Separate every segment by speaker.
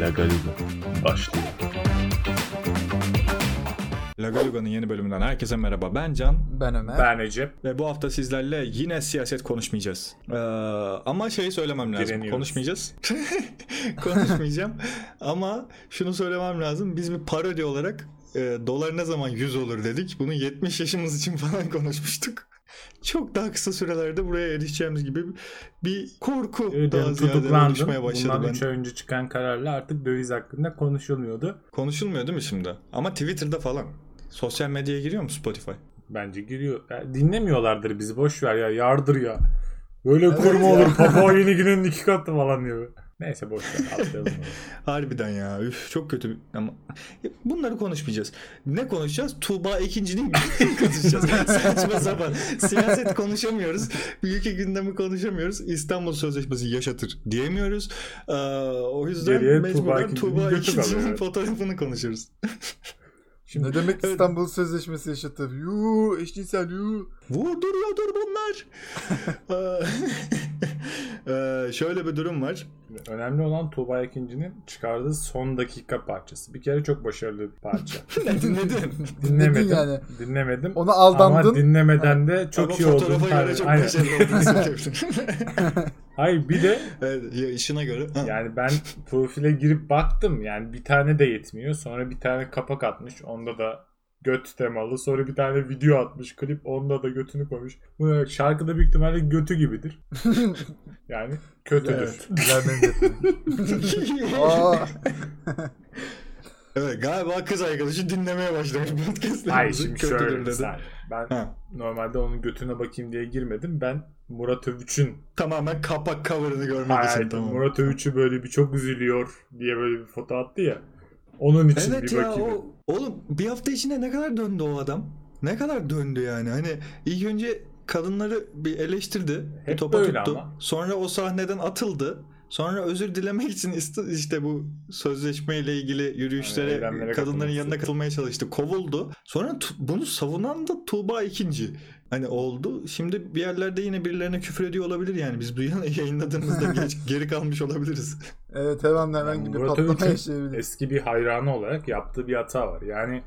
Speaker 1: Lagaliga başlıyor.
Speaker 2: Lagaluga'nın yeni bölümünden herkese merhaba. Ben Can
Speaker 3: Ben Ömer.
Speaker 4: Ben Ece.
Speaker 2: ve bu hafta sizlerle yine siyaset konuşmayacağız. Ee, ama şeyi söylemem lazım.
Speaker 4: Direniyoruz.
Speaker 2: Konuşmayacağız. Konuşmayacağım. ama şunu söylemem lazım. Biz bir parodi olarak e, dolar ne zaman 100 olur dedik. Bunu 70 yaşımız için falan konuşmuştuk. Çok daha kısa sürelerde buraya erişeceğimiz gibi bir korku daha ziyade oluşmaya başladı.
Speaker 4: Bundan
Speaker 2: bende.
Speaker 4: 3 ay önce çıkan kararla artık döviz hakkında konuşulmuyordu.
Speaker 2: Konuşulmuyor değil mi şimdi? Ama Twitter'da falan. Sosyal medyaya giriyor mu Spotify?
Speaker 4: Bence giriyor. Ya, dinlemiyorlardır bizi. Boş ver ya. Yardır ya. Böyle
Speaker 3: Evet
Speaker 4: kurma
Speaker 3: ya.
Speaker 4: olur. Papua Yeni Gine'nin iki katı falan diyor. Neyse boş ver. atlayalım onu.
Speaker 2: Harbiden ya. Üf, çok kötü. Ama Ya bunları konuşmayacağız. Ne konuşacağız? Tuğba Ekinci'nin gündemini konuşacağız. Saçma sapan. Siyaset konuşamıyoruz. Bir ülke gündemi konuşamıyoruz. İstanbul Sözleşmesi yaşatır diyemiyoruz. Ee, o yüzden
Speaker 4: Geriye Tuğba
Speaker 2: mecburen Tuğba
Speaker 4: Ekinci'nin götü
Speaker 2: Ekinci'nin
Speaker 4: kalıyor.
Speaker 2: fotoğrafını konuşuruz.
Speaker 4: Şimdi
Speaker 3: ne demek
Speaker 2: Evet.
Speaker 3: İstanbul Sözleşmesi yaşatır? Yuu eşcinsel yuu.
Speaker 2: Vurduruyordur bunlar. Ee, şöyle bir durum var.
Speaker 4: önemli olan Tuğba Ekinci'nin çıkardığı son dakika parçası. Bir kere çok başarılı bir parça.
Speaker 2: Ne dinledin?
Speaker 4: Dinlemedim.
Speaker 3: yani.
Speaker 4: Dinlemedim.
Speaker 3: Ona
Speaker 4: Ama
Speaker 3: aldandın.
Speaker 4: dinlemeden de çok
Speaker 2: Ama
Speaker 4: iyi oldu.
Speaker 2: fotoğrafa göre çok
Speaker 4: Aynen.
Speaker 2: başarılı olduğunu
Speaker 4: Hayır bir de
Speaker 2: Evet, ya işine göre. Ha.
Speaker 4: Yani ben profile girip baktım. Yani bir tane de yetmiyor. Sonra bir tane kapak atmış. Onda da göt temalı. Sonra bir tane video atmış klip. Onda da götünü koymuş. Bu ne demek? şarkıda büyük ihtimalle götü gibidir. Yani kötüdür.
Speaker 3: evet. Güzel benzetme. Aa,
Speaker 2: evet galiba kız arkadaşı dinlemeye başlamış podcastlerimizi.
Speaker 4: Ay şimdi
Speaker 2: Kötüdür
Speaker 4: şöyle
Speaker 2: dedi.
Speaker 4: sen. Ben
Speaker 2: Ha,
Speaker 4: normalde onun götüne bakayım diye girmedim. Ben Murat Övüç'ün
Speaker 2: tamamen kapak cover'ını görmek için
Speaker 4: Hayır,
Speaker 2: tamam.
Speaker 4: Murat Övüç'ü böyle bir çok üzülüyor diye böyle bir foto attı ya. Onun için
Speaker 2: evet
Speaker 4: bir
Speaker 2: ya
Speaker 4: bakayım.
Speaker 2: o, oğlum bir hafta içinde ne kadar döndü o adam? Ne kadar döndü yani? Hani ilk önce kadınları bir eleştirdi. bir
Speaker 4: Hep
Speaker 2: topa
Speaker 4: böyle
Speaker 2: tuttu.
Speaker 4: ama.
Speaker 2: Sonra o sahneden atıldı. Sonra özür dilemek için ist- işte bu sözleşmeyle ilgili yürüyüşlere
Speaker 4: Yani eylemlere
Speaker 2: kadınların
Speaker 4: katılması.
Speaker 2: yanına katılmaya çalıştı. Kovuldu. Sonra tu- bunu savunan da Tuğba ikinci. Hani oldu. Şimdi bir yerlerde yine birilerine küfür ediyor olabilir yani. Biz duyan yayınladığımızda geç- geri kalmış olabiliriz.
Speaker 3: evet hemen herhangi bir
Speaker 4: Murat
Speaker 3: patlama
Speaker 4: Övüç'ün
Speaker 3: yaşayabilir.
Speaker 4: eski bir hayranı olarak yaptığı bir hata var. Yani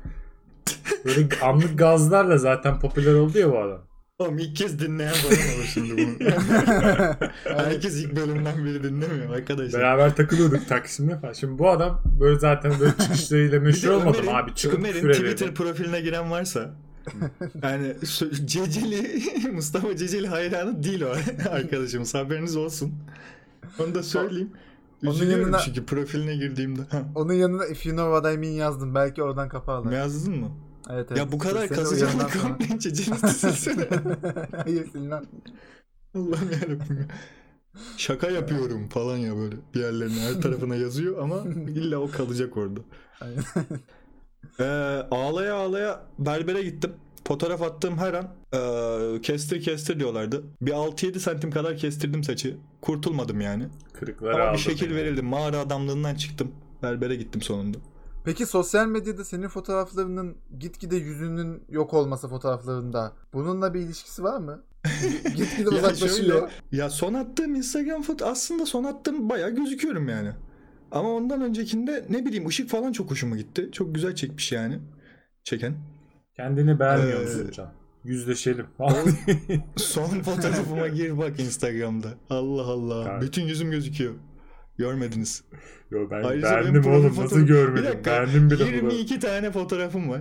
Speaker 4: böyle anlık gazlarla zaten popüler oldu ya bu adam.
Speaker 2: Oğlum ilk kez dinleyen falan olur şimdi bunu. Herkes ilk bölümden beri dinlemiyor arkadaşlar.
Speaker 4: Beraber takılıyorduk Taksim'de falan. Şimdi bu adam böyle zaten böyle çıkışlarıyla
Speaker 2: Bir de
Speaker 4: meşhur olmadı mı
Speaker 2: Ömer'in-
Speaker 4: şey abi? Çıkıp
Speaker 2: Ömer'in
Speaker 4: küfür
Speaker 2: Twitter
Speaker 4: edelim.
Speaker 2: profiline giren varsa yani sö- Ceceli Mustafa Ceceli hayranı değil o arkadaşımız haberiniz olsun. Onu da söyleyeyim.
Speaker 3: Onun
Speaker 2: Üzülüyorum
Speaker 3: yanına-
Speaker 2: çünkü profiline girdiğimde. Ha,
Speaker 3: Onun yanına if you know what I mean yazdım. Belki oradan kaparlar.
Speaker 2: Yazdın mı?
Speaker 3: Evet, evet.
Speaker 2: Ya bu kadar
Speaker 3: Seni
Speaker 2: kasacağını
Speaker 3: uyarandan sonra-
Speaker 2: komple Ceceli silsene.
Speaker 3: Hayır silmem.
Speaker 2: Allah'ım yarabbim ya. Şaka yapıyorum falan ya böyle bir yerlerine her tarafına yazıyor ama illa o kalacak orada.
Speaker 3: Aynen.
Speaker 2: Ee, ağlaya ağlaya berbere gittim. Fotoğraf attığım her an ee, kestir kestir diyorlardı. Bir 6-7 santim kadar kestirdim saçı. Kurtulmadım yani.
Speaker 4: Kırıkları
Speaker 2: Ama
Speaker 4: aldı.
Speaker 2: bir şekil verildi. Mağara adamlığından çıktım. Berbere gittim sonunda.
Speaker 3: Peki sosyal medyada senin fotoğraflarının gitgide yüzünün yok olması fotoğraflarında bununla bir ilişkisi var mı? gitgide
Speaker 2: Ya
Speaker 3: uzaklaşıyor.
Speaker 2: Ya son attığım Instagram foto aslında son attığım bayağı gözüküyorum yani. Ama ondan öncekinde ne bileyim ışık falan çok hoşuma gitti. Çok güzel çekmiş yani. Çeken.
Speaker 4: Kendini beğenmiyor
Speaker 2: Ee,
Speaker 4: musun Can? Yüzleşelim.
Speaker 2: Son fotoğrafıma gir bak Instagram'da. Allah Allah.
Speaker 4: Evet.
Speaker 2: Bütün yüzüm gözüküyor. Görmediniz.
Speaker 4: Yo ben
Speaker 2: Ayrıca benim
Speaker 4: beğendim
Speaker 2: profil
Speaker 4: oğlum
Speaker 2: fotoğrafım-
Speaker 4: nasıl
Speaker 2: Bir
Speaker 4: görmedim.
Speaker 2: dakika,
Speaker 4: Beğendim bile bunu.
Speaker 2: 22 tane fotoğrafım var.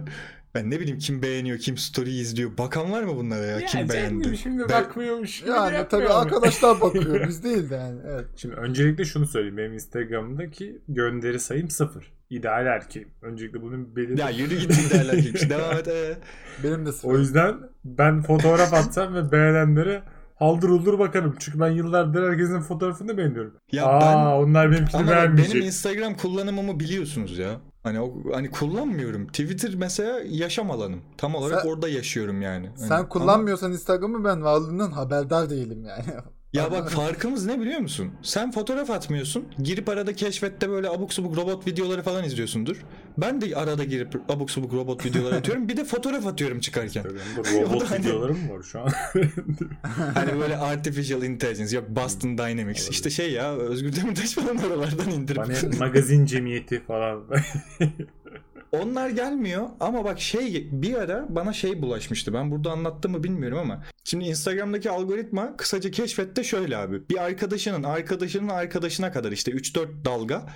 Speaker 2: Ben ne bileyim kim beğeniyor, kim story izliyor. Bakan var mı bunlara ya? kim beğendi?
Speaker 4: şimdi
Speaker 2: Be-
Speaker 4: bakmıyormuş.
Speaker 3: yani tabii arkadaşlar bakıyor. Biz değil de yani. Evet.
Speaker 4: Şimdi öncelikle şunu söyleyeyim. Benim Instagram'daki gönderi sayım sıfır. İdeal erkeğim. Öncelikle bunun belirli
Speaker 2: Ya yürü git derler gibi. Devam et. ee.
Speaker 3: Benim de sıfır.
Speaker 4: O yüzden ben fotoğraf atsam ve beğenenlere haldır uldur bakarım. Çünkü ben yıllardır herkesin fotoğrafını beğeniyorum.
Speaker 2: Ya
Speaker 4: Aa
Speaker 2: ben
Speaker 4: onlar benimkini
Speaker 2: ama bak
Speaker 4: beğenmeyecek.
Speaker 2: benim Instagram kullanımımı biliyorsunuz ya. Hani o, hani kullanmıyorum. Twitter mesela yaşam alanım. Tam olarak
Speaker 3: Sen-
Speaker 2: orada yaşıyorum yani. Hani
Speaker 3: Sen
Speaker 2: ama-
Speaker 3: kullanmıyorsan Instagram'ı ben varlığından haberdar değilim yani.
Speaker 2: Ya
Speaker 3: Ama-
Speaker 2: bak farkımız ne biliyor musun? Sen fotoğraf atmıyorsun. Girip arada keşfette böyle abuk subuk robot videoları falan izliyorsundur. Ben de arada girip abuk subuk robot videoları atıyorum. Bir de fotoğraf atıyorum çıkarken.
Speaker 4: Tabii onda robot
Speaker 2: hani-
Speaker 4: videolarım mı var şu an?
Speaker 2: Hani böyle artificial intelligence yok Boston Dynamics. İşte şey ya Özgür Demirtaş falan oralardan indirip.
Speaker 4: Hani magazin cemiyeti falan.
Speaker 2: Onlar gelmiyor ama bak şey bir ara bana şey bulaşmıştı. Ben burada anlattım mı bilmiyorum ama. Şimdi Instagram'daki algoritma kısaca keşfette şöyle abi. Bir arkadaşının arkadaşının arkadaşına kadar işte 3-4 dalga.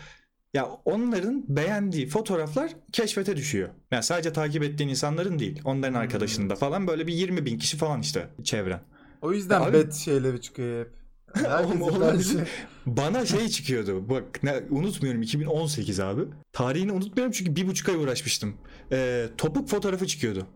Speaker 2: Ya onların beğendiği fotoğraflar keşfete düşüyor. Yani sadece takip ettiğin insanların değil. Onların arkadaşının da falan böyle bir 20 bin kişi falan işte çevren.
Speaker 3: O yüzden
Speaker 2: Abi-
Speaker 3: bet şeyleri çıkıyor hep. Herkesin
Speaker 2: Oğlum,
Speaker 3: her
Speaker 2: olabilir.
Speaker 3: şey.
Speaker 2: Bana şey çıkıyordu. Bak ne, unutmuyorum 2018 abi. Tarihini unutmuyorum çünkü bir buçuk ay uğraşmıştım. Ee, topuk fotoğrafı çıkıyordu.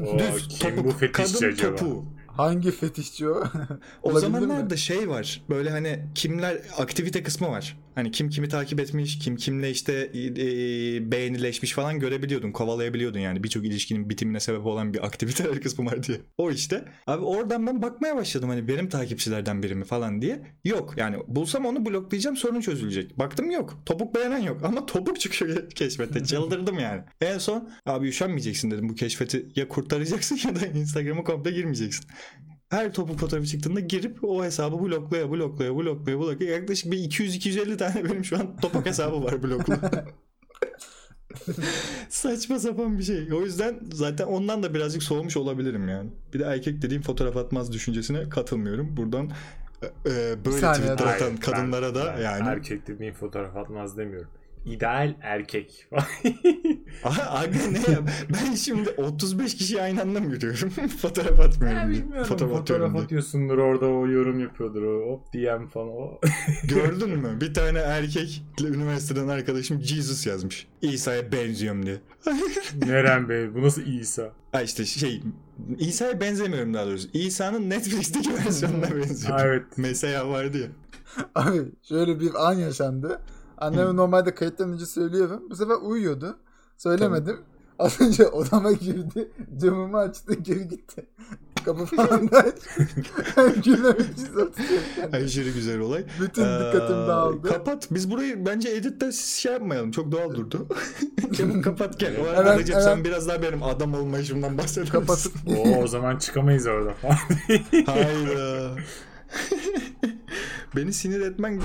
Speaker 4: Oo, kim bu fetişçi
Speaker 2: kadın
Speaker 4: acaba?
Speaker 2: topuğu.
Speaker 3: Hangi fetişçi o?
Speaker 2: O
Speaker 3: Olabilir
Speaker 2: zamanlarda
Speaker 3: mi?
Speaker 2: şey var. Böyle hani kimler aktivite kısmı var. Hani kim kimi takip etmiş, kim kimle işte e, e, beğenileşmiş falan görebiliyordun, kovalayabiliyordun yani. Birçok ilişkinin bitimine sebep olan bir aktiviteler kısmı var diye. O işte. Abi oradan ben bakmaya başladım hani benim takipçilerden biri mi falan diye. Yok yani bulsam onu bloklayacağım sorun çözülecek. Baktım yok. Topuk beğenen yok ama topuk çıkıyor keşfette. Çıldırdım yani. En son abi üşenmeyeceksin dedim bu keşfeti ya kurtaracaksın ya da Instagram'a komple girmeyeceksin her topuk fotoğrafı çıktığında girip o hesabı bloklaya bloklaya bloklaya bloklaya yaklaşık bir 200-250 tane benim şu an topuk hesabı var bloklu. Saçma sapan bir şey. O yüzden zaten ondan da birazcık soğumuş olabilirim yani. Bir de erkek dediğim fotoğraf atmaz düşüncesine katılmıyorum. Buradan e, e, böyle
Speaker 3: saniye
Speaker 2: tweetler
Speaker 3: daha.
Speaker 2: atan
Speaker 4: Hayır,
Speaker 2: kadınlara
Speaker 4: ben-
Speaker 2: da
Speaker 4: ben
Speaker 2: yani.
Speaker 4: Erkek dediğin fotoğraf atmaz demiyorum. İdeal erkek.
Speaker 2: Aha, aga ne yap? Ben şimdi 35 kişi aynı anda mı yürüyorum? fotoğraf atmıyorum. diye.
Speaker 4: Bilmiyorum,
Speaker 2: fotoğraf, atıyorum
Speaker 4: fotoğraf
Speaker 2: diye.
Speaker 4: atıyorsundur orada o yorum yapıyordur o hop DM falan o.
Speaker 2: Gördün mü? Bir tane erkek üniversiteden arkadaşım Jesus yazmış. İsa'ya benziyorum diye.
Speaker 4: Neren Bey bu nasıl İsa?
Speaker 2: Ha işte şey İsa'ya benzemiyorum daha doğrusu. İsa'nın Netflix'teki versiyonuna benziyorum.
Speaker 4: Ha, evet.
Speaker 2: Mesela vardı ya.
Speaker 3: Abi şöyle bir an yaşandı. Anneme normalde kayıttan önce söylüyorum. Bu sefer uyuyordu. Söylemedim. Az önce odama girdi. Camımı açtı geri gitti. Kapı falan da açtı. Ben Gülmemek için zor tutuyorum.
Speaker 2: Aşırı güzel olay.
Speaker 3: Bütün dikkatim
Speaker 2: Ee,
Speaker 3: dağıldı.
Speaker 2: Kapat. Biz burayı bence editte şey yapmayalım. Çok doğal durdu. Çabuk kapat gel. O arada
Speaker 3: Evet,
Speaker 2: Recep
Speaker 3: evet.
Speaker 2: sen biraz daha benim adam olmayışımdan bahsedersin.
Speaker 3: Kapatıp
Speaker 4: Oo, o zaman çıkamayız orada falan.
Speaker 2: Hayda. Beni sinir etmen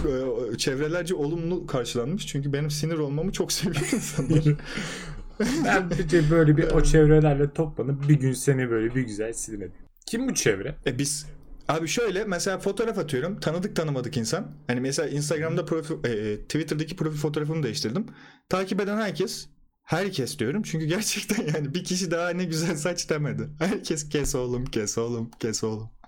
Speaker 2: e, çevrelerce olumlu karşılanmış. Çünkü benim sinir olmamı çok seviyor insanlar.
Speaker 4: ben bir de böyle bir o çevrelerle toplanıp bir gün seni böyle bir güzel sinir edeyim. Kim bu çevre?
Speaker 2: E biz abi şöyle mesela fotoğraf atıyorum. Tanıdık tanımadık insan. Hani mesela Instagram'da profil e, Twitter'daki profil fotoğrafımı değiştirdim. Takip eden herkes herkes diyorum. Çünkü gerçekten yani bir kişi daha ne güzel saç demedi. Herkes kes oğlum, kes oğlum, kes oğlum.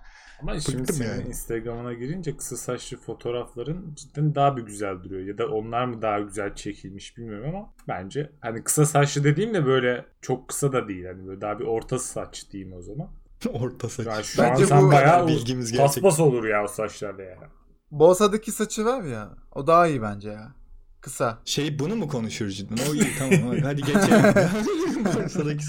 Speaker 4: Ama şimdi
Speaker 2: Bıktım
Speaker 4: senin
Speaker 2: yani.
Speaker 4: Instagram'ına girince kısa saçlı fotoğrafların cidden daha bir güzel duruyor. Ya da onlar mı daha güzel çekilmiş bilmiyorum ama bence hani kısa saçlı dediğim de böyle çok kısa da değil. Hani böyle daha bir orta saç diyeyim o zaman.
Speaker 2: Orta saç.
Speaker 4: Yani şu
Speaker 3: Bence
Speaker 4: an sen
Speaker 3: bu-
Speaker 4: bayağı
Speaker 2: Bilgimiz gerçek.
Speaker 4: paspas olur ya o saçlarla yani.
Speaker 3: Bolsa'daki saçı var ya. O daha iyi bence ya. Kısa.
Speaker 2: Şey bunu mu konuşuyoruz cidden? O iyi tamam hadi geçelim. Bursa'daki-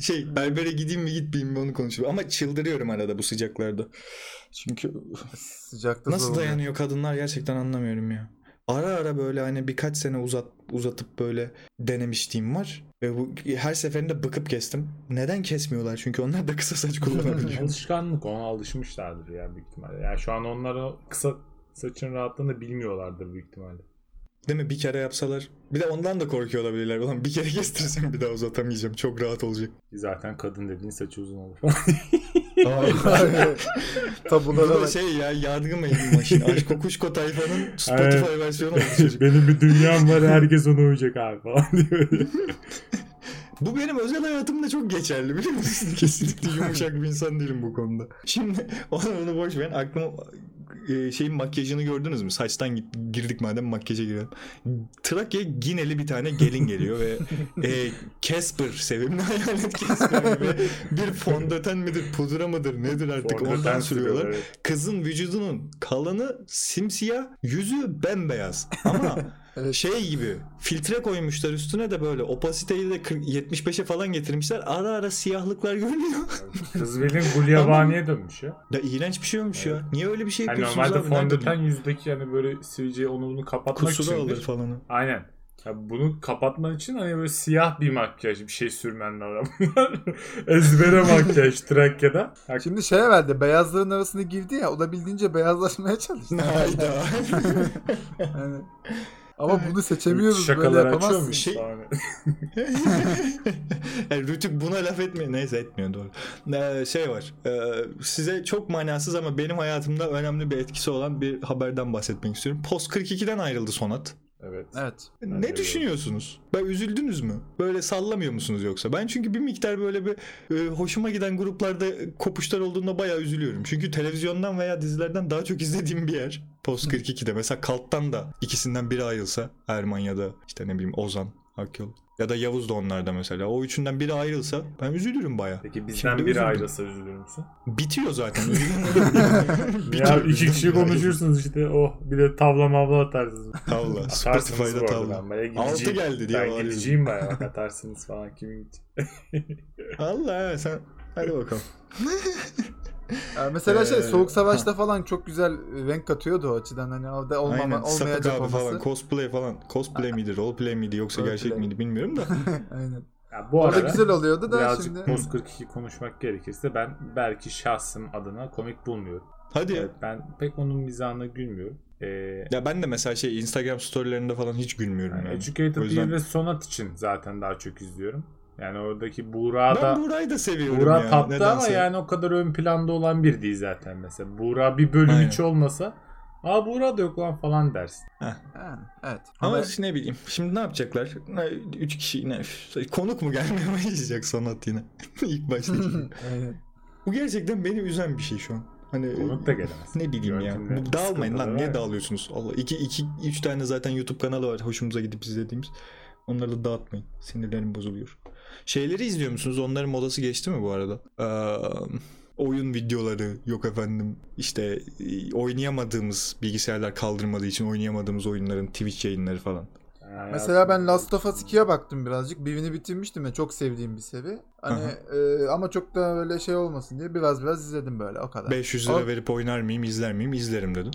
Speaker 2: şey berbere gideyim mi gitmeyeyim mi onu konuşuyoruz. Ama çıldırıyorum arada bu sıcaklarda. Çünkü
Speaker 3: Sıcakta
Speaker 2: Nasıl
Speaker 3: zor oluyor.
Speaker 2: dayanıyor kadınlar gerçekten anlamıyorum ya. Ara ara böyle hani birkaç sene uzat uzatıp böyle denemişliğim var. Ve bu her seferinde bıkıp kestim. Neden kesmiyorlar? Çünkü onlar da kısa saç kullanabiliyor.
Speaker 4: Alışkanlık ona alışmışlardır yani büyük ihtimalle. Yani şu an onlar o kısa saçın rahatlığını bilmiyorlardır büyük ihtimalle.
Speaker 2: Değil mi? Bir kere yapsalar. Bir de ondan da korkuyor olabilirler. Ulan bir kere kestirsem bir daha uzatamayacağım. Çok rahat olacak.
Speaker 4: Zaten kadın dediğin saçı uzun olur.
Speaker 2: Bu
Speaker 3: Tabulara
Speaker 2: da
Speaker 3: bak.
Speaker 2: şey ya yargı meydan maşini. Aşk Kokuşko tayfanın Spotify
Speaker 4: Evet.
Speaker 2: versiyonu oldu çocuk.
Speaker 4: Benim bir dünyam var herkes ona uyacak abi falan diyor.
Speaker 2: Bu benim özel hayatımda çok geçerli biliyor musun? Kesinlikle yumuşak bir insan değilim bu konuda. Şimdi onu, onu boş verin. Aklıma e, şeyin makyajını gördünüz mü? Saçtan git- girdik madem makyaja girelim. Trakya Gineli bir tane gelin geliyor ve e, Casper sevimli hayalet Casper gibi bir fondöten midir pudra mıdır nedir artık
Speaker 4: Fondöten
Speaker 2: ondan sürüyorlar.
Speaker 4: sürüyorlar, evet.
Speaker 2: Kızın vücudunun kalanı simsiyah, yüzü bembeyaz. Ama
Speaker 3: Evet.
Speaker 2: şey gibi filtre koymuşlar üstüne de böyle opasiteyi de 40 75'e falan getirmişler. Ara ara siyahlıklar görünüyor.
Speaker 4: Kız benim gulyabaniye dönmüş ya.
Speaker 2: Ya iğrenç bir şey olmuş ya. Niye öyle bir şey
Speaker 4: Yani
Speaker 2: yapıyorsunuz
Speaker 4: normalde
Speaker 2: abi? Nerede
Speaker 4: fondöten yüzdeki hani böyle sivilceyi onu bunu kapatmak
Speaker 2: Kusura
Speaker 4: için.
Speaker 2: alır falan.
Speaker 4: Aynen. Ya bunu kapatman için hani böyle siyah bir makyaj bir şey sürmen lazım. Ezbere makyaj Trakya'da. Ya
Speaker 3: Şimdi şeye verdi. Beyazların arasına girdi ya. Olabildiğince beyazlaşmaya çalıştı.
Speaker 2: Hayda.
Speaker 3: Yani. Ama bunu seçemiyoruz. Böyle
Speaker 4: Şakalar açıyor
Speaker 3: yapamazsın.
Speaker 4: muyuz
Speaker 2: Şey-
Speaker 4: falan?
Speaker 2: yani Rütük buna laf etmiyor. Neyse etmiyor doğru. Ee, şey var. Ee, size çok manasız ama benim hayatımda önemli bir etkisi olan bir haberden bahsetmek istiyorum. Post 42'den ayrıldı Sonat.
Speaker 4: Evet.
Speaker 3: Evet.
Speaker 4: Ben
Speaker 2: ne
Speaker 4: de
Speaker 2: düşünüyorsunuz? Ben üzüldünüz mü? Böyle sallamıyor musunuz yoksa? Ben çünkü bir miktar böyle bir e, hoşuma giden gruplarda kopuşlar olduğunda bayağı üzülüyorum. Çünkü televizyondan veya dizilerden daha çok izlediğim bir yer. Post 42'de mesela Kalt'tan da ikisinden biri ayrılsa Erman ya da işte ne bileyim Ozan, Akyol ya da Yavuz da onlarda mesela. O üçünden biri ayrılsa ben üzülürüm bayağı.
Speaker 4: Peki bizden
Speaker 2: Şimdi
Speaker 4: biri
Speaker 2: üzüldüm.
Speaker 4: ayrılsa üzülür müsün?
Speaker 2: Bitiyor zaten.
Speaker 4: Ya
Speaker 2: Bitiyor.
Speaker 4: iki kişi konuşursunuz işte. Oh bir de tavla mavla atarsınız.
Speaker 2: Tavla.
Speaker 4: Atarsınız
Speaker 2: Spotify'da
Speaker 4: bu arada.
Speaker 2: tavla.
Speaker 4: Ben bayağı
Speaker 2: Altı
Speaker 4: gideceğim.
Speaker 2: geldi diye
Speaker 4: Ben
Speaker 2: bağırıyorum.
Speaker 4: gideceğim bayağı bak atarsınız falan kimin gidecek.
Speaker 2: Allah sen hadi bakalım.
Speaker 3: Yani mesela şey
Speaker 2: Ee,
Speaker 3: Soğuk Savaş'ta falan çok güzel e, renk katıyordu o açıdan. Hani orada olmama,
Speaker 2: Aynen sapık
Speaker 3: olmayacak
Speaker 2: abi
Speaker 3: olması.
Speaker 2: falan cosplay falan. Cosplay miydi, roleplay miydi yoksa
Speaker 3: Roleplay.
Speaker 2: gerçek miydi bilmiyorum da.
Speaker 3: Aynen.
Speaker 4: Ya bu
Speaker 3: Orada
Speaker 4: arada
Speaker 3: güzel oluyordu da
Speaker 4: birazcık
Speaker 3: şimdi.
Speaker 4: Post 42 konuşmak gerekirse ben belki şahsım adına komik bulmuyorum.
Speaker 2: Hadi ya.
Speaker 4: Evet, ben pek onun mizahına gülmüyorum. Ee,
Speaker 2: Ya ben de mesela şey Instagram storylerinde falan hiç gülmüyorum
Speaker 4: yani
Speaker 2: yani.
Speaker 4: Educated
Speaker 2: O yüzden-
Speaker 4: değil ve Sonat için zaten daha çok izliyorum. Yani oradaki Buğra
Speaker 2: Ben
Speaker 4: da
Speaker 2: Buray'ı da seviyorum
Speaker 4: Buğra
Speaker 2: ya.
Speaker 4: tatlı ama
Speaker 2: nedense.
Speaker 4: yani o kadar ön planda olan bir değil zaten mesela. Buğra bir bölüm
Speaker 2: Aynen.
Speaker 4: hiç olmasa Aa Buğra da yok lan falan dersin.
Speaker 3: Yani, evet.
Speaker 2: Ama
Speaker 3: Ama
Speaker 2: işte ne bileyim. Şimdi ne yapacaklar? Ne- Üç kişi yine üf, konuk mu gelmeye başlayacak sanat yine. İlk baştaki. gibi.
Speaker 3: Aynen.
Speaker 2: Bu gerçekten beni üzen bir şey şu an. Hani
Speaker 4: Konuk da gelemez.
Speaker 2: ne bileyim ya.
Speaker 4: Yöntemle
Speaker 2: Bu dağılmayın
Speaker 4: sıkıntıları
Speaker 2: lan.
Speaker 4: var ya.
Speaker 2: Niye dağılıyorsunuz? Allah iki iki üç tane zaten YouTube kanalı var hoşumuza gidip izlediğimiz. Onları da dağıtmayın. Sinirlerim bozuluyor. Şeyleri izliyor musunuz? Onların modası geçti mi bu arada? Eee, oyun videoları yok efendim. İşte e, oynayamadığımız bilgisayarlar kaldırmadığı için oynayamadığımız oyunların Twitch yayınları falan.
Speaker 4: Ha, ya.
Speaker 3: Mesela ben Last of Us 2'ye baktım birazcık. Birini bitirmiştim ya çok sevdiğim bir seri. Hani e, ama çok da böyle şey olmasın diye biraz biraz izledim böyle o kadar.
Speaker 2: 500 lira
Speaker 3: Abi-
Speaker 2: verip oynar mıyım, izler miyim? İzlerim dedim.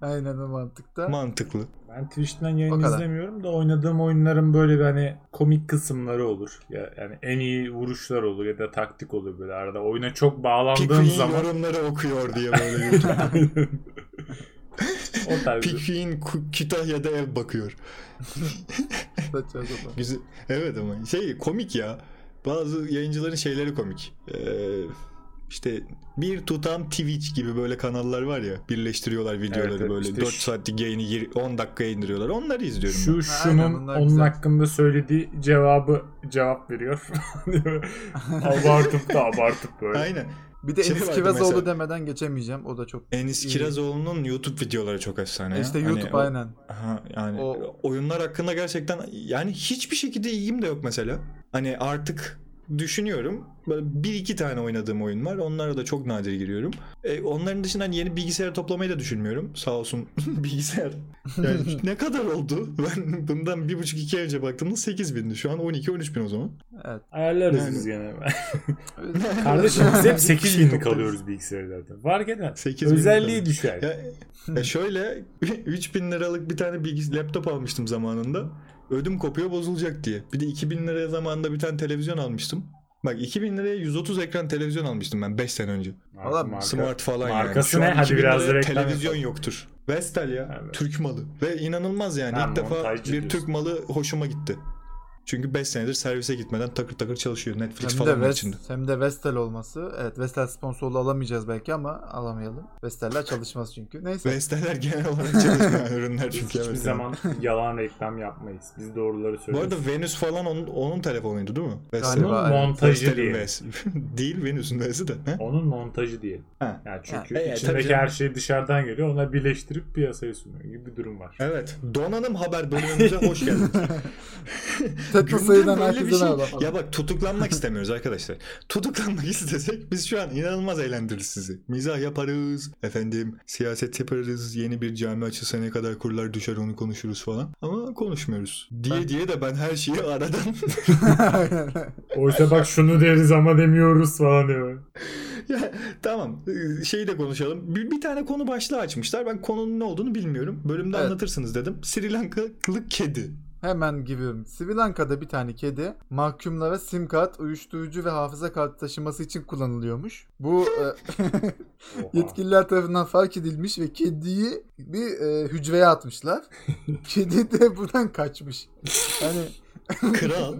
Speaker 3: Aynen o mantıkta.
Speaker 2: Mantıklı.
Speaker 4: Ben Twitch'ten
Speaker 3: O
Speaker 4: yayın
Speaker 3: kadar.
Speaker 4: izlemiyorum da oynadığım oyunların böyle bir hani komik kısımları olur. Ya, yani en iyi vuruşlar olur ya da taktik olur böyle arada. Oyuna çok bağlandığım
Speaker 2: Pikmin
Speaker 4: zaman
Speaker 2: yorumları okuyor diye böyle YouTube.
Speaker 4: o tarz bir-
Speaker 2: Pikmin Ku- Kütahya'da ev bakıyor.
Speaker 3: Saçma sapan.
Speaker 2: Güzel. Evet ama şey komik ya. Bazı yayıncıların şeyleri komik. Ee, işte bir tutam Twitch gibi böyle kanallar var ya. Birleştiriyorlar videoları
Speaker 4: Evet, evet.
Speaker 2: böyle.
Speaker 4: İşte
Speaker 2: 4
Speaker 4: şu-
Speaker 2: saatlik yayını yir- 10 dakikaya indiriyorlar. Onları izliyorum. ben.
Speaker 4: şu şunun
Speaker 3: Aynen, bunlar
Speaker 4: onun
Speaker 3: güzel.
Speaker 4: hakkında söylediği cevabı cevap veriyor. abartıp da abartıp böyle.
Speaker 2: Aynen.
Speaker 3: Bir de
Speaker 2: Şey
Speaker 3: Enis
Speaker 2: vardı
Speaker 3: Kirazoğlu
Speaker 2: mesela.
Speaker 3: demeden geçemeyeceğim. O da çok.
Speaker 2: Enis
Speaker 3: İyi.
Speaker 2: Kirazoğlu'nun YouTube videoları çok efsane. ya.
Speaker 3: işte
Speaker 2: Hani
Speaker 3: YouTube
Speaker 2: o-
Speaker 3: aynen.
Speaker 2: Aha, yani
Speaker 3: O-
Speaker 2: oyunlar hakkında gerçekten yani hiçbir şekilde ilgim de yok mesela. Hani artık düşünüyorum. Böyle bir iki tane oynadığım oyun var. Onlara da çok nadir giriyorum. E, onların dışında hani yeni bilgisayar toplamayı da düşünmüyorum. Sağ olsun bilgisayar. Yani ne kadar oldu? Ben bundan bir buçuk iki ay önce baktığımda 8 bindi. Şu an 12-13 bin o zaman.
Speaker 3: Evet.
Speaker 4: Ayarlarız
Speaker 2: Yani.
Speaker 4: biz gene. Kardeşim biz hep 8 binlik alıyoruz bilgisayarlardan. Fark etmez.
Speaker 2: 8 bin
Speaker 4: Özelliği düşer.
Speaker 2: Ya, ya şöyle 3000 liralık bir tane bilgis laptop almıştım zamanında. Ödüm kopuyor bozulacak diye. Bir de 2000 liraya zamanında bir tane televizyon almıştım. Bak 2000 liraya 130 ekran televizyon almıştım ben 5 sene önce.
Speaker 4: Marka-
Speaker 3: Valla
Speaker 4: marka.
Speaker 2: Smart falan
Speaker 4: Markası
Speaker 2: yani.
Speaker 4: ne?
Speaker 2: Şu an
Speaker 4: Hadi
Speaker 2: 2000
Speaker 4: biraz
Speaker 2: liraya
Speaker 4: da reklam
Speaker 2: televizyon
Speaker 4: yapalım.
Speaker 2: yoktur. Vestel ya.
Speaker 4: Evet.
Speaker 2: Türk malı. Ve inanılmaz yani.
Speaker 4: Ha,
Speaker 2: ilk defa
Speaker 4: montajcı
Speaker 2: bir
Speaker 4: diyorsun.
Speaker 2: Türk malı hoşuma gitti. Çünkü 5 senedir servise gitmeden takır takır çalışıyor Netflix
Speaker 3: Hem de,
Speaker 2: falan var
Speaker 3: West,
Speaker 2: içinde.
Speaker 3: hem de Vestel olması. Evet Vestel sponsorluğu alamayacağız belki ama alamayalım. Vestel'ler çalışmaz çünkü. Neyse.
Speaker 2: Vestel'ler genel olarak çalışmayan ürünler
Speaker 4: Biz
Speaker 2: çünkü.
Speaker 4: hiçbir
Speaker 2: evet.
Speaker 4: zaman yalan reklam yapmayız. Biz doğruları
Speaker 2: Bu
Speaker 4: söylüyoruz.
Speaker 2: arada Venüs falan onun, onun telefonuydu değil mi? Vestel.
Speaker 3: Galiba.
Speaker 4: Onun
Speaker 3: evet.
Speaker 4: montajı
Speaker 2: Vestel'in
Speaker 4: diye.
Speaker 2: V'si. Değil Venüs'ün V'si de. He?
Speaker 4: Onun montajı diye.
Speaker 2: Ha.
Speaker 4: Yani
Speaker 3: Ha,
Speaker 4: çünkü
Speaker 2: e, tabii
Speaker 4: içindeki
Speaker 2: canım.
Speaker 4: her şey dışarıdan geliyor. Ona birleştirip piyasaya sunuyor gibi bir durum var.
Speaker 2: Evet. Donanım haber bölümümüze hoş geldiniz.
Speaker 3: Tekno
Speaker 2: Gündem
Speaker 3: sayıdan
Speaker 2: böyle bir
Speaker 3: herkese
Speaker 2: şey.
Speaker 3: merhaba.
Speaker 2: Ya bak tutuklanmak istemiyoruz arkadaşlar. Tutuklanmak istesek biz şu an inanılmaz eğlendiririz sizi. Mizah yaparız. Efendim siyaset yaparız. Yeni bir cami açılsa ne kadar kurlar düşer onu konuşuruz falan. Ama konuşmuyoruz. Diye
Speaker 3: Ben-
Speaker 2: diye de ben her şeyi aradan
Speaker 3: Aynen.
Speaker 4: Oysa bak şunu deriz ama demiyoruz falan diyor.
Speaker 2: ya, tamam ee, şeyi de konuşalım. Bir, bir tane konu başlığı açmışlar. Ben konunun ne olduğunu bilmiyorum. Bölümde
Speaker 3: Evet.
Speaker 2: anlatırsınız dedim. Sri Lankalı kedi.
Speaker 3: Hemen giriyorum. Sri Lanka'da bir tane kedi mahkumlara sim kart, uyuşturucu ve hafıza kartı taşıması için kullanılıyormuş. Bu e,
Speaker 4: Oha.
Speaker 3: Yetkililer tarafından fark edilmiş ve kediyi bir e, hücreye atmışlar. Kedi de buradan kaçmış. Yani
Speaker 2: Kral.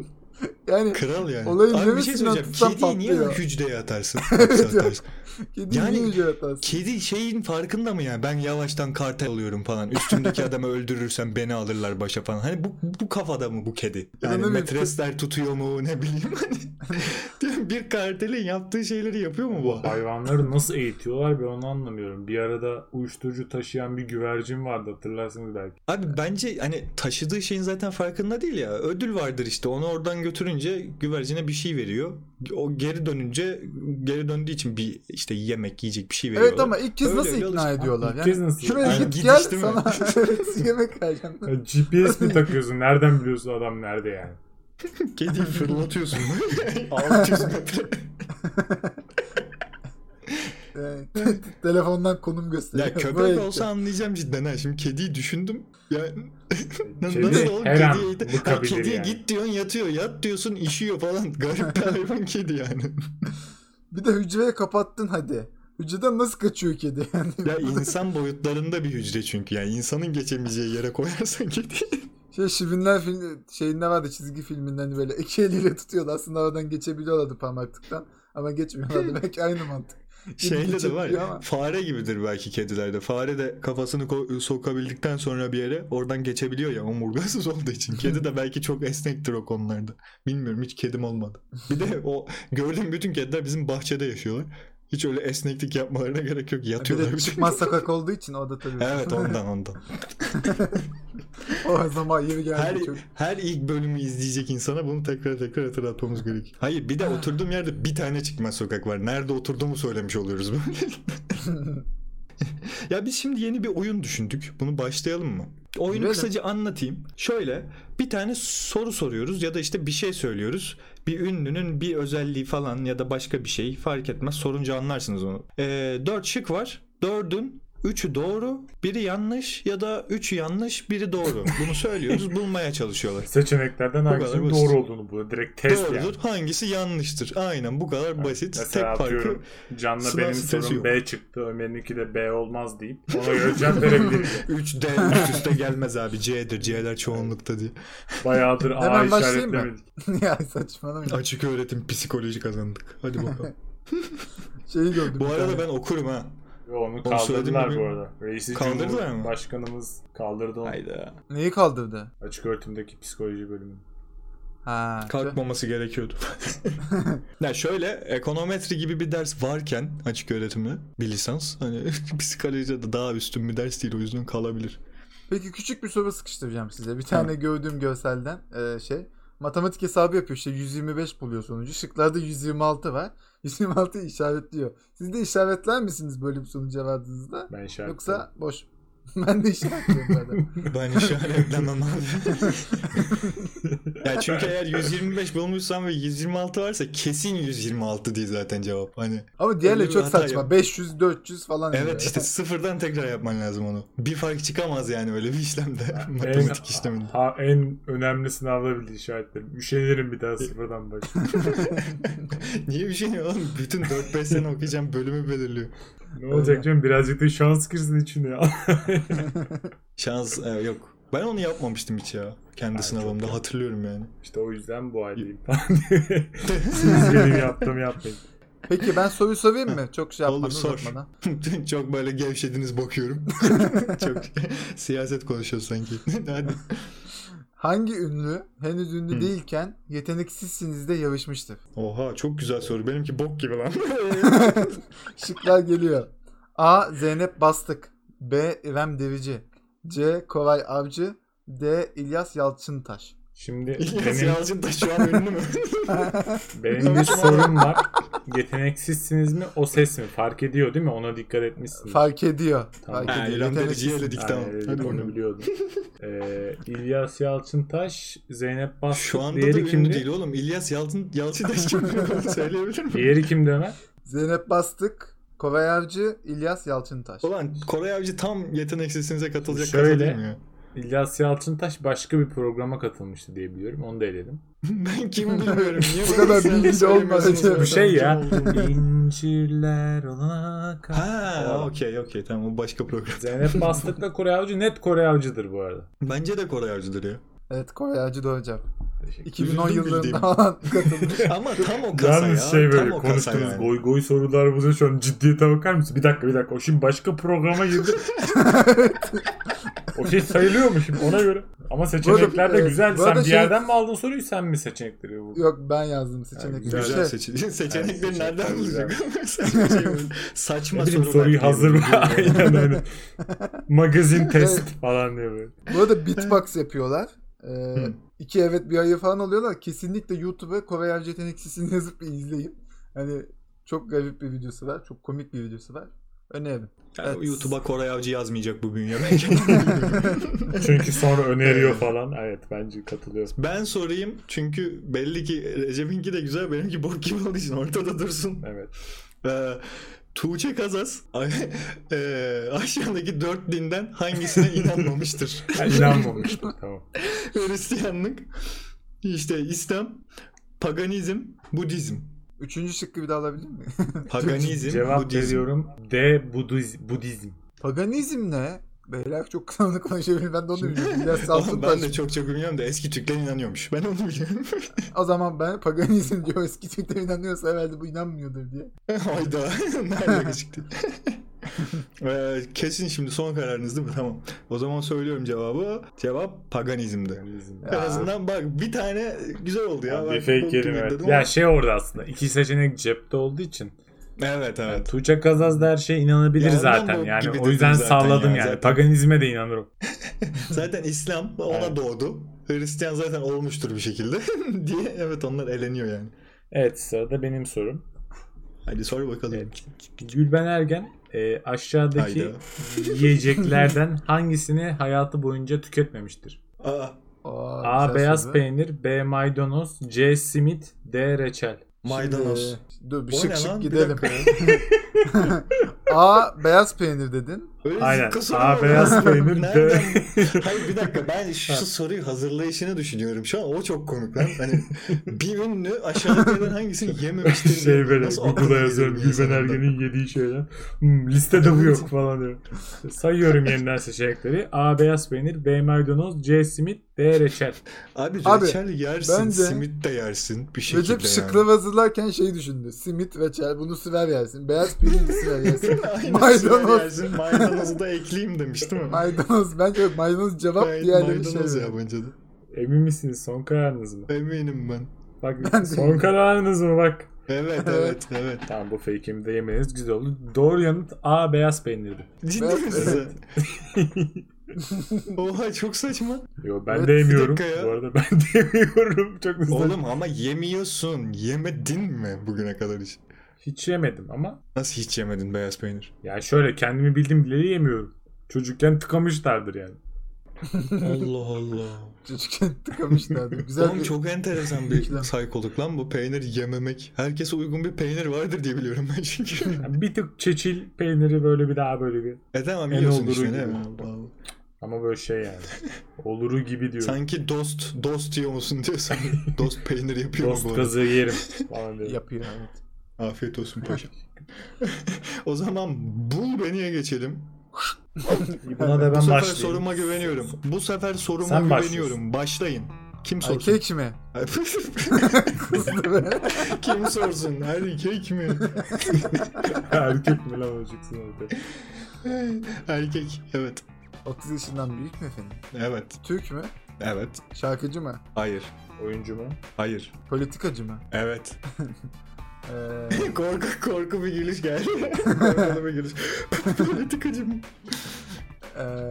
Speaker 3: yani
Speaker 2: Kral yani.
Speaker 3: Olayın
Speaker 2: Abi bir şey
Speaker 3: neresinden
Speaker 2: söyleyeceğim.
Speaker 3: tutsam
Speaker 2: Kediyi niye
Speaker 3: patlıyor.
Speaker 2: hücreye atarsın?
Speaker 3: Evet ya.
Speaker 2: atarsın?
Speaker 3: kedi
Speaker 2: Yani-
Speaker 3: niye hücreye atarsın?
Speaker 2: Kedi şeyin farkında mı yani? Ben yavaştan kartel oluyorum falan. Üstümdeki adamı öldürürsem beni alırlar başa falan. Hani bu, bu kafada mı bu kedi?
Speaker 3: Ya ne
Speaker 2: Yani
Speaker 3: bileyim,
Speaker 2: metresler tutuyor mu ne bileyim hani. Değil mi? bir kartelin yaptığı şeyleri yapıyor mu bu?
Speaker 4: Hayvanları nasıl eğitiyorlar ben onu anlamıyorum. Bir arada uyuşturucu taşıyan bir güvercin vardı hatırlarsınız belki.
Speaker 2: Abi bence hani taşıdığı şeyin zaten farkında değil ya. Ödül vardır işte. Onu oradan götürünce güvercine bir şey veriyor. O geri dönünce geri döndüğü için bir işte yemek yiyecek bir şey veriyor.
Speaker 3: Evet ama ilk kez
Speaker 2: Öyle,
Speaker 3: nasıl
Speaker 2: öyle
Speaker 3: ikna
Speaker 2: alışkan-
Speaker 3: ediyorlar?
Speaker 4: İlk
Speaker 3: Yani
Speaker 4: kez nasıl?
Speaker 3: şuraya
Speaker 2: Yani
Speaker 3: git
Speaker 2: gidiş
Speaker 3: gel
Speaker 2: değil mi?
Speaker 3: sana evet, yemek vereceğim.
Speaker 4: Ya GPS mi takıyorsun? Nereden biliyorsun adam nerede yani?
Speaker 2: Kediyi fırlatıyorsun. 600 metre.
Speaker 3: Yani E, te- te- telefondan konum gösteriyor.
Speaker 2: Ya köpek
Speaker 3: Buraya
Speaker 2: olsa anlayacağım cidden ha. Şimdi kediyi düşündüm. Yani
Speaker 4: Kedi
Speaker 2: nasıl oğlum
Speaker 4: her an
Speaker 2: kediye, ha,
Speaker 4: bıkabilir
Speaker 2: kediye
Speaker 4: yani.
Speaker 2: git diyorsun yatıyor. Yat diyorsun işiyor falan. Garip bir hayvan kedi yani.
Speaker 3: gidecek. Bir de hücreye kapattın hadi. Hücreden nasıl kaçıyor kedi yani?
Speaker 2: Ya insan boyutlarında bir hücre çünkü. Yani insanın geçemeyeceği yere koyarsan kediyi.
Speaker 3: Şey Şivinler film, şeyinde vardı çizgi filminden hani böyle iki eliyle tutuyordu. Aslında oradan geçebiliyorlardı parmaklıktan. Ama geçmiyorlardı. Belki aynı mantık.
Speaker 2: Şeyle de var
Speaker 3: çekiyor ama.
Speaker 2: ya. Fare gibidir belki kedilerde. Fare de kafasını ko- sokabildikten sonra bir yere oradan geçebiliyor ya omurgasız olduğu için. Kedi de belki çok esnektir o konularda. Bilmiyorum hiç kedim olmadı. Bir de o gördüğüm bütün kediler bizim bahçede yaşıyorlar. Hiç öyle esneklik yapmalarına gerek yok.
Speaker 3: Bir
Speaker 2: Yatıyorlar.
Speaker 3: de
Speaker 2: bütün-
Speaker 3: çıkmaz sokak olduğu için o da tabii.
Speaker 2: Evet ondan ondan.
Speaker 3: o zaman yeri geldi.
Speaker 2: Her,
Speaker 3: çok.
Speaker 2: her ilk bölümü izleyecek insana bunu tekrar tekrar hatırlatmamız gerek. Hayır bir de oturduğum yerde bir tane çıkmaz sokak var. Nerede oturduğumu söylemiş oluyoruz böyle. ya biz şimdi yeni bir oyun düşündük. Bunu başlayalım mı? Oyunu
Speaker 3: Girelim.
Speaker 2: kısaca anlatayım. Şöyle bir tane soru soruyoruz ya da işte bir şey söylüyoruz. Bir ünlünün bir özelliği falan ya da başka bir şey fark etmez. Sorunca anlarsınız onu. Ee, dört şık var. Dördün Üçü doğru, biri yanlış ya da üçü yanlış, biri doğru. Bunu söylüyoruz, bulmaya çalışıyorlar.
Speaker 4: Seçeneklerden hangisinin
Speaker 2: basit.
Speaker 4: doğru olduğunu bu. Direkt test
Speaker 2: Doğrudur.
Speaker 4: yani.
Speaker 2: Hangisi yanlıştır? Aynen bu kadar basit.
Speaker 4: Mesela
Speaker 2: Tek farkı
Speaker 4: atıyorum Can'la
Speaker 2: sınav
Speaker 4: benim
Speaker 2: stresi
Speaker 4: sorum
Speaker 2: yok.
Speaker 4: B çıktı. Ömer'inki de B olmaz deyip ona göre cevap verebilirim.
Speaker 2: 3D üst üste gelmez abi. C'dir. C'ler çoğunlukta diye.
Speaker 4: Bayağıdır A
Speaker 3: Hemen başlayayım mı?
Speaker 4: işaretlemedik.
Speaker 3: ya saçmalamayın.
Speaker 2: Açık öğretim psikoloji kazandık. Hadi bakalım.
Speaker 3: Şeyi Şey gördüm.
Speaker 2: bu
Speaker 3: bir
Speaker 2: arada
Speaker 3: tane.
Speaker 2: ben okurum ha.
Speaker 4: Ve onu
Speaker 2: söyledim
Speaker 4: kaldırdılar bu
Speaker 2: mi bilmiyorum.
Speaker 4: arada. Reisi
Speaker 2: Kaldırdılar mı?
Speaker 4: Başkanımız kaldırdı onu.
Speaker 2: Hayda.
Speaker 3: Neyi kaldırdı?
Speaker 4: Açık öğretimdeki psikoloji bölümü.
Speaker 3: Ha.
Speaker 2: Kalkmaması gerekiyordu. ya şöyle ekonometri gibi bir ders varken açık öğretimde bir lisans hani psikoloji de daha üstün bir ders değil o yüzden kalabilir.
Speaker 3: Peki küçük bir soru sıkıştıracağım size. Bir tane gördüğüm görselden e, şey. Matematik hesabı yapıyor işte 125 buluyor sonucu. Şıklarda 126 var. 126 işaretliyor. Siz de işaretler misiniz böyle bir sonuca vardığınızda?
Speaker 4: Ben işaretledim.
Speaker 3: Yoksa boş. ben de işaretliyorum zaten.
Speaker 2: Ben işaretlemem abi. ya çünkü eğer 125 bulmuşsam ve 126 varsa kesin 126 diye zaten cevap. Hani
Speaker 3: Ama diğerleri
Speaker 2: Öyle bir
Speaker 3: çok
Speaker 2: hata
Speaker 3: saçma.
Speaker 2: yok.
Speaker 3: 500 400 falan. diyor.
Speaker 2: evet işte sıfırdan tekrar yapman lazım onu. Bir fark çıkamaz yani öyle bir işlemde. Matematik işleminde.
Speaker 4: Ha, en önemli sınavda bildi işaretlerim. Üşenirim bir daha sıfırdan baş.
Speaker 2: Niye bir şey oğlum? Bütün 4-5 sene okuyacağım bölümü belirliyor.
Speaker 4: ne olacak canım birazcık da şans girsin içine ya.
Speaker 2: Şans e, yok. Ben onu yapmamıştım hiç ya. Kendi
Speaker 4: Ben çok
Speaker 2: sınavımda
Speaker 4: yap-
Speaker 2: hatırlıyorum yani.
Speaker 4: İşte o yüzden bu haldeyim falan diye. Siz benim yaptığımı yapmayın.
Speaker 3: Peki ben soru sorayım mı? Çok şey
Speaker 2: Olur,
Speaker 3: yapmadan
Speaker 2: sor.
Speaker 3: uzatmadan.
Speaker 2: Çok böyle gevşediniz bakıyorum. Çok siyaset konuşuyor sanki. Hadi.
Speaker 3: Hangi ünlü henüz ünlü
Speaker 2: Hı.
Speaker 3: değilken yeteneksizsiniz de yarışmıştır?
Speaker 2: Oha çok güzel soru. Benimki bok gibi lan.
Speaker 3: Şıklar geliyor. A. Zeynep Bastık B. İrem Devici C. Koray Avcı D. İlyas Yalçıntaş
Speaker 4: Şimdi
Speaker 2: İlyas
Speaker 4: benim,
Speaker 2: Yalçın da şu an ünlü mü?
Speaker 4: benim bir sorum var. Yeteneksizsiniz mi o ses mi? Fark ediyor değil mi? Ona dikkat etmişsiniz.
Speaker 3: Fark ediyor.
Speaker 4: Tamam.
Speaker 3: Fark
Speaker 2: ha,
Speaker 3: ediyor.
Speaker 2: İrem Derici'yi
Speaker 3: Yeteneksizsin.
Speaker 2: eledik tamam.
Speaker 4: Yani,
Speaker 2: Hadi
Speaker 4: onu
Speaker 2: bakalım.
Speaker 4: biliyordum. Ee, İlyas Yalçıntaş, Zeynep Bastık.
Speaker 2: Şu anda da
Speaker 4: diğeri
Speaker 2: ünlü
Speaker 4: kimdi?
Speaker 2: değil oğlum. İlyas Yalçın, Yalçın da kim? Onu Söyleyebilir miyim?
Speaker 4: Diğeri kimdi Ömer?
Speaker 3: Zeynep Bastık Koray Avcı İlyas Yalçıntaş.
Speaker 2: Ulan Koray Avcı tam yeteneksizsinize katılacak
Speaker 4: Şöyle.
Speaker 2: kafa değil mi ya?
Speaker 4: İlyas Yalçıntaş başka bir programa katılmıştı diye biliyorum. Onu da eledim.
Speaker 2: Ben kim bilmiyorum. Niye
Speaker 3: Bu
Speaker 2: bana
Speaker 3: kadar
Speaker 2: sen de
Speaker 3: bilgili
Speaker 2: söylemiyorsunuz
Speaker 3: olmadı.
Speaker 2: ben
Speaker 4: Bu şey
Speaker 2: kim
Speaker 4: ya.
Speaker 2: olduğumu?
Speaker 4: İncirler ona kal-
Speaker 2: Ha, okey okey tamam o başka program.
Speaker 4: Zeynep Bastık'la Kore Avcı net Kore Avcı'dır bu arada.
Speaker 2: Bence de Koray Avcı'dır ya.
Speaker 3: Evet Koray Avcı doğru cevap.
Speaker 4: Teşekkür
Speaker 3: 2010
Speaker 2: Üzüldüm
Speaker 3: yıllarında
Speaker 2: bildiğim.
Speaker 3: falan katılmış.
Speaker 2: Ama tam o kasa
Speaker 4: Yalnız
Speaker 2: ya.
Speaker 4: şey böyle
Speaker 2: tam o kasa
Speaker 4: konuştuğunuz
Speaker 2: yani.
Speaker 4: goy goy sorular bu şu an ciddiyete bakar mısın? Bir dakika bir dakika o şimdi başka programa girdi. o şey sayılıyor mu şimdi ona göre? Ama seçenekler de
Speaker 3: e,
Speaker 4: güzel.
Speaker 3: bu arada
Speaker 4: Sen bir
Speaker 3: şey-
Speaker 4: yerden mi aldın soruyu sen mi seçenekleri bu?
Speaker 3: Yok ben yazdım seçenekleri.
Speaker 4: güzel
Speaker 2: Güzel
Speaker 3: Şey,
Speaker 2: seçenekler. Seçenekleri
Speaker 4: Yani
Speaker 2: nereden
Speaker 4: seçenekler
Speaker 2: bulacak? Saçma şey böyle. Saçma
Speaker 4: Ne bileyim
Speaker 2: sorular
Speaker 4: soruyu
Speaker 2: diye
Speaker 4: hazır
Speaker 2: böyle.
Speaker 4: mı? aynen aynen. Magazin test falan diye böyle.
Speaker 3: Bu arada beatbox yapıyorlar. Ee,
Speaker 2: Hı.
Speaker 3: iki evet bir hayır falan oluyorlar. Kesinlikle YouTube'a Kore Avcı Yeteneksiz'ini yazıp bir izleyin. Hani çok garip bir videosu var. Çok komik bir videosu var. Öneririm.
Speaker 2: Yani
Speaker 3: Evet.
Speaker 2: YouTube'a Koray Avcı yazmayacak bu bünye belki.
Speaker 4: Çünkü sonra öneriyor falan. Evet bence katılıyor.
Speaker 2: ben sorayım çünkü belli ki Recep'inki de güzel benimki bok gibi olduğu için ortada dursun.
Speaker 4: Evet.
Speaker 2: Ee, Tuğçe Kazas ee, aşağıdaki dört dinden hangisine inanmamıştır?
Speaker 4: Ha, inanmamıştım tamam.
Speaker 2: Hristiyanlık, işte İslam, paganizm, Budizm.
Speaker 3: Üçüncü şıkkı bir daha alabilir miyim?
Speaker 2: Paganizm,
Speaker 4: Cevap
Speaker 2: Budizm.
Speaker 4: veriyorum. D. Budizm. Budizm.
Speaker 3: Paganizm ne? Beyler çok kanlı konuşabilir. Ben de onu biliyorum. İlyas
Speaker 2: Oğlum ben
Speaker 3: Salçıntaş.
Speaker 2: de çok çok bilmiyorum da eski Türkler inanıyormuş. Ben onu biliyorum.
Speaker 3: O zaman ben paganizm diyor. Eski Türkler inanıyorsa herhalde bu inanmıyordur diye.
Speaker 2: Hayda. Nerede gecikti? Ee, kesin şimdi son kararınız değil mi? Tamam. O zaman söylüyorum cevabı. Cevap paganizmdi.
Speaker 4: Budizm.
Speaker 2: En azından bak bir tane güzel oldu ya. Ben
Speaker 4: bir fake
Speaker 2: bok
Speaker 4: kelime.
Speaker 2: gibi
Speaker 4: evet.
Speaker 2: dedim
Speaker 4: Ya
Speaker 2: ama-
Speaker 4: şey orada aslında. iki seçenek cepte olduğu için.
Speaker 2: Evet
Speaker 4: Yani
Speaker 2: evet.
Speaker 4: Tuğçe Kazaz'da her şeye inanabilir
Speaker 2: Ya ondan
Speaker 4: zaten.
Speaker 2: bu
Speaker 4: Yani
Speaker 2: gibi
Speaker 4: o yüzden
Speaker 2: dedim zaten
Speaker 4: salladım
Speaker 2: ya,
Speaker 4: yani.
Speaker 2: zaten.
Speaker 4: Paganizme de inanırım.
Speaker 2: Zaten İslam ona
Speaker 4: Evet.
Speaker 2: doğdu. Hristiyan zaten olmuştur bir şekilde diye. Evet onlar eleniyor yani.
Speaker 4: Evet sırada benim sorum.
Speaker 2: Hadi sor bakalım.
Speaker 4: Evet. Gülben Ergen e, aşağıdaki
Speaker 2: Hayda.
Speaker 4: yiyeceklerden hangisini hayatı boyunca tüketmemiştir?
Speaker 2: Aa,
Speaker 3: Aa,
Speaker 4: A.
Speaker 3: güzel
Speaker 4: Beyaz
Speaker 3: soru.
Speaker 4: peynir. B. Maydanoz. C. Simit. D. Reçel.
Speaker 2: maydanoz.
Speaker 3: Şimdi, dur bir
Speaker 2: O ne
Speaker 3: şık
Speaker 2: lan?
Speaker 3: şık
Speaker 2: Bir
Speaker 3: gidelim.
Speaker 2: dakika
Speaker 3: A beyaz peynir dedin.
Speaker 2: Öyle
Speaker 4: Aynen.
Speaker 2: zıpkın soru mu
Speaker 4: A.
Speaker 2: olur?
Speaker 4: Beyaz peynir. D.
Speaker 2: Nereden Hayır bir dakika ben şu soruyu hazırlayışını düşünüyorum. Şu an o çok komik lan. Hani bir ünlü aşağıdakilerden hangisini yememiştir? diye.
Speaker 4: şey böyle
Speaker 2: Nasıl
Speaker 4: Google'a
Speaker 2: aklına
Speaker 4: yazıyorum
Speaker 2: geliyor
Speaker 4: Gülben
Speaker 2: insanın da?
Speaker 4: Ergen'in yediği şeyler. Hmm, listede bu yok falan diyor. Sayıyorum yeniden seçenekleri. A. Beyaz peynir. B. Maydanoz. C. Simit. D. Reçel.
Speaker 2: Abi,
Speaker 3: Abi,
Speaker 2: reçel yersin,
Speaker 3: bence-
Speaker 2: simit de yersin bir şekilde.
Speaker 3: Recep
Speaker 2: yani.
Speaker 3: şıkları hazırlarken şey düşündü. Simit ve çel bunu süver yersin. Beyaz peynir süver yersin.
Speaker 2: Aynen, maydanoz.
Speaker 3: maydanoz.
Speaker 2: Yersin, maydanozu da ekleyeyim demiş değil mi?
Speaker 3: Maydanoz. Bence yok, maydanoz cevap
Speaker 2: Gayet
Speaker 3: diğerleri şey.
Speaker 2: maydanoz ya bence de.
Speaker 4: Emin misiniz? Son kararınız mı?
Speaker 2: Eminim ben.
Speaker 4: Bak
Speaker 3: Ben
Speaker 4: son kararınız mı? Bak.
Speaker 2: Evet evet evet.
Speaker 4: Tamam bu fake'imi de yemeniz güzel oldu. Doğru yanıt A. Beyaz peynirdi.
Speaker 2: Ciddi
Speaker 3: Evet,
Speaker 2: misin sen? Oha çok saçma.
Speaker 4: Yo ben
Speaker 3: Evet,
Speaker 4: de
Speaker 3: bir
Speaker 4: yemiyorum.
Speaker 2: dakika ya.
Speaker 4: Bu arada ben de yemiyorum. Çok güzel.
Speaker 2: Oğlum ama yemiyorsun. Yemedin mi bugüne kadar hiç?
Speaker 4: Hiç yemedim ama
Speaker 2: Nasıl hiç yemedin beyaz peynir?
Speaker 4: Yani şöyle kendimi bildim bileli yemiyorum. Çocukken tıkamışlardır yani.
Speaker 2: Allah Allah.
Speaker 3: Çocukken tıkamışlardı. Güzel
Speaker 2: Oğlum
Speaker 3: bir...
Speaker 2: çok enteresan
Speaker 3: İkilem.
Speaker 2: bir saykoluk lan bu peynir yememek. Herkese uygun bir peynir vardır diye biliyorum ben çünkü.
Speaker 4: Yani bir tık çeçil peyniri böyle bir daha böyle bir.
Speaker 2: e tamam
Speaker 4: En
Speaker 2: yiyorsun
Speaker 4: oluru
Speaker 2: işte
Speaker 4: gibi.
Speaker 2: ne bileyim.
Speaker 4: Ama böyle şey yani. Oluru gibi diyorum.
Speaker 2: Sanki dost, dost yiyor musun diye sen dost peynir yapıyor mu bu
Speaker 4: Dost
Speaker 2: arada?
Speaker 4: kazığı yerim falan diyorum.
Speaker 3: yapıyor. Evet.
Speaker 2: Afiyet olsun paşam. o zaman bul beni'ye geçelim.
Speaker 4: Buna da
Speaker 2: Bu
Speaker 4: ben
Speaker 2: sefer
Speaker 4: başlayayım.
Speaker 2: soruma güveniyorum. Bu sefer soruma
Speaker 4: Sen başlıyorsun.
Speaker 2: güveniyorum. Başlayın. Kim
Speaker 3: Ay,
Speaker 2: sorsun?
Speaker 3: kek mi?
Speaker 2: Kim sorsun? Hadi kek mi?
Speaker 4: Erkek mi lan olacaksın orada?
Speaker 2: Erkek. Evet.
Speaker 3: 30 yaşından büyük mü efendim?
Speaker 2: Evet.
Speaker 3: Türk mü?
Speaker 2: Evet.
Speaker 3: Şarkıcı mı?
Speaker 2: Hayır.
Speaker 4: Oyuncu mu?
Speaker 2: Hayır.
Speaker 3: Politikacı mı?
Speaker 2: Evet.
Speaker 3: Ee,
Speaker 2: korku korku bir gülüş geldi. Korkulu bir gülüş. Politikacım.
Speaker 3: ee,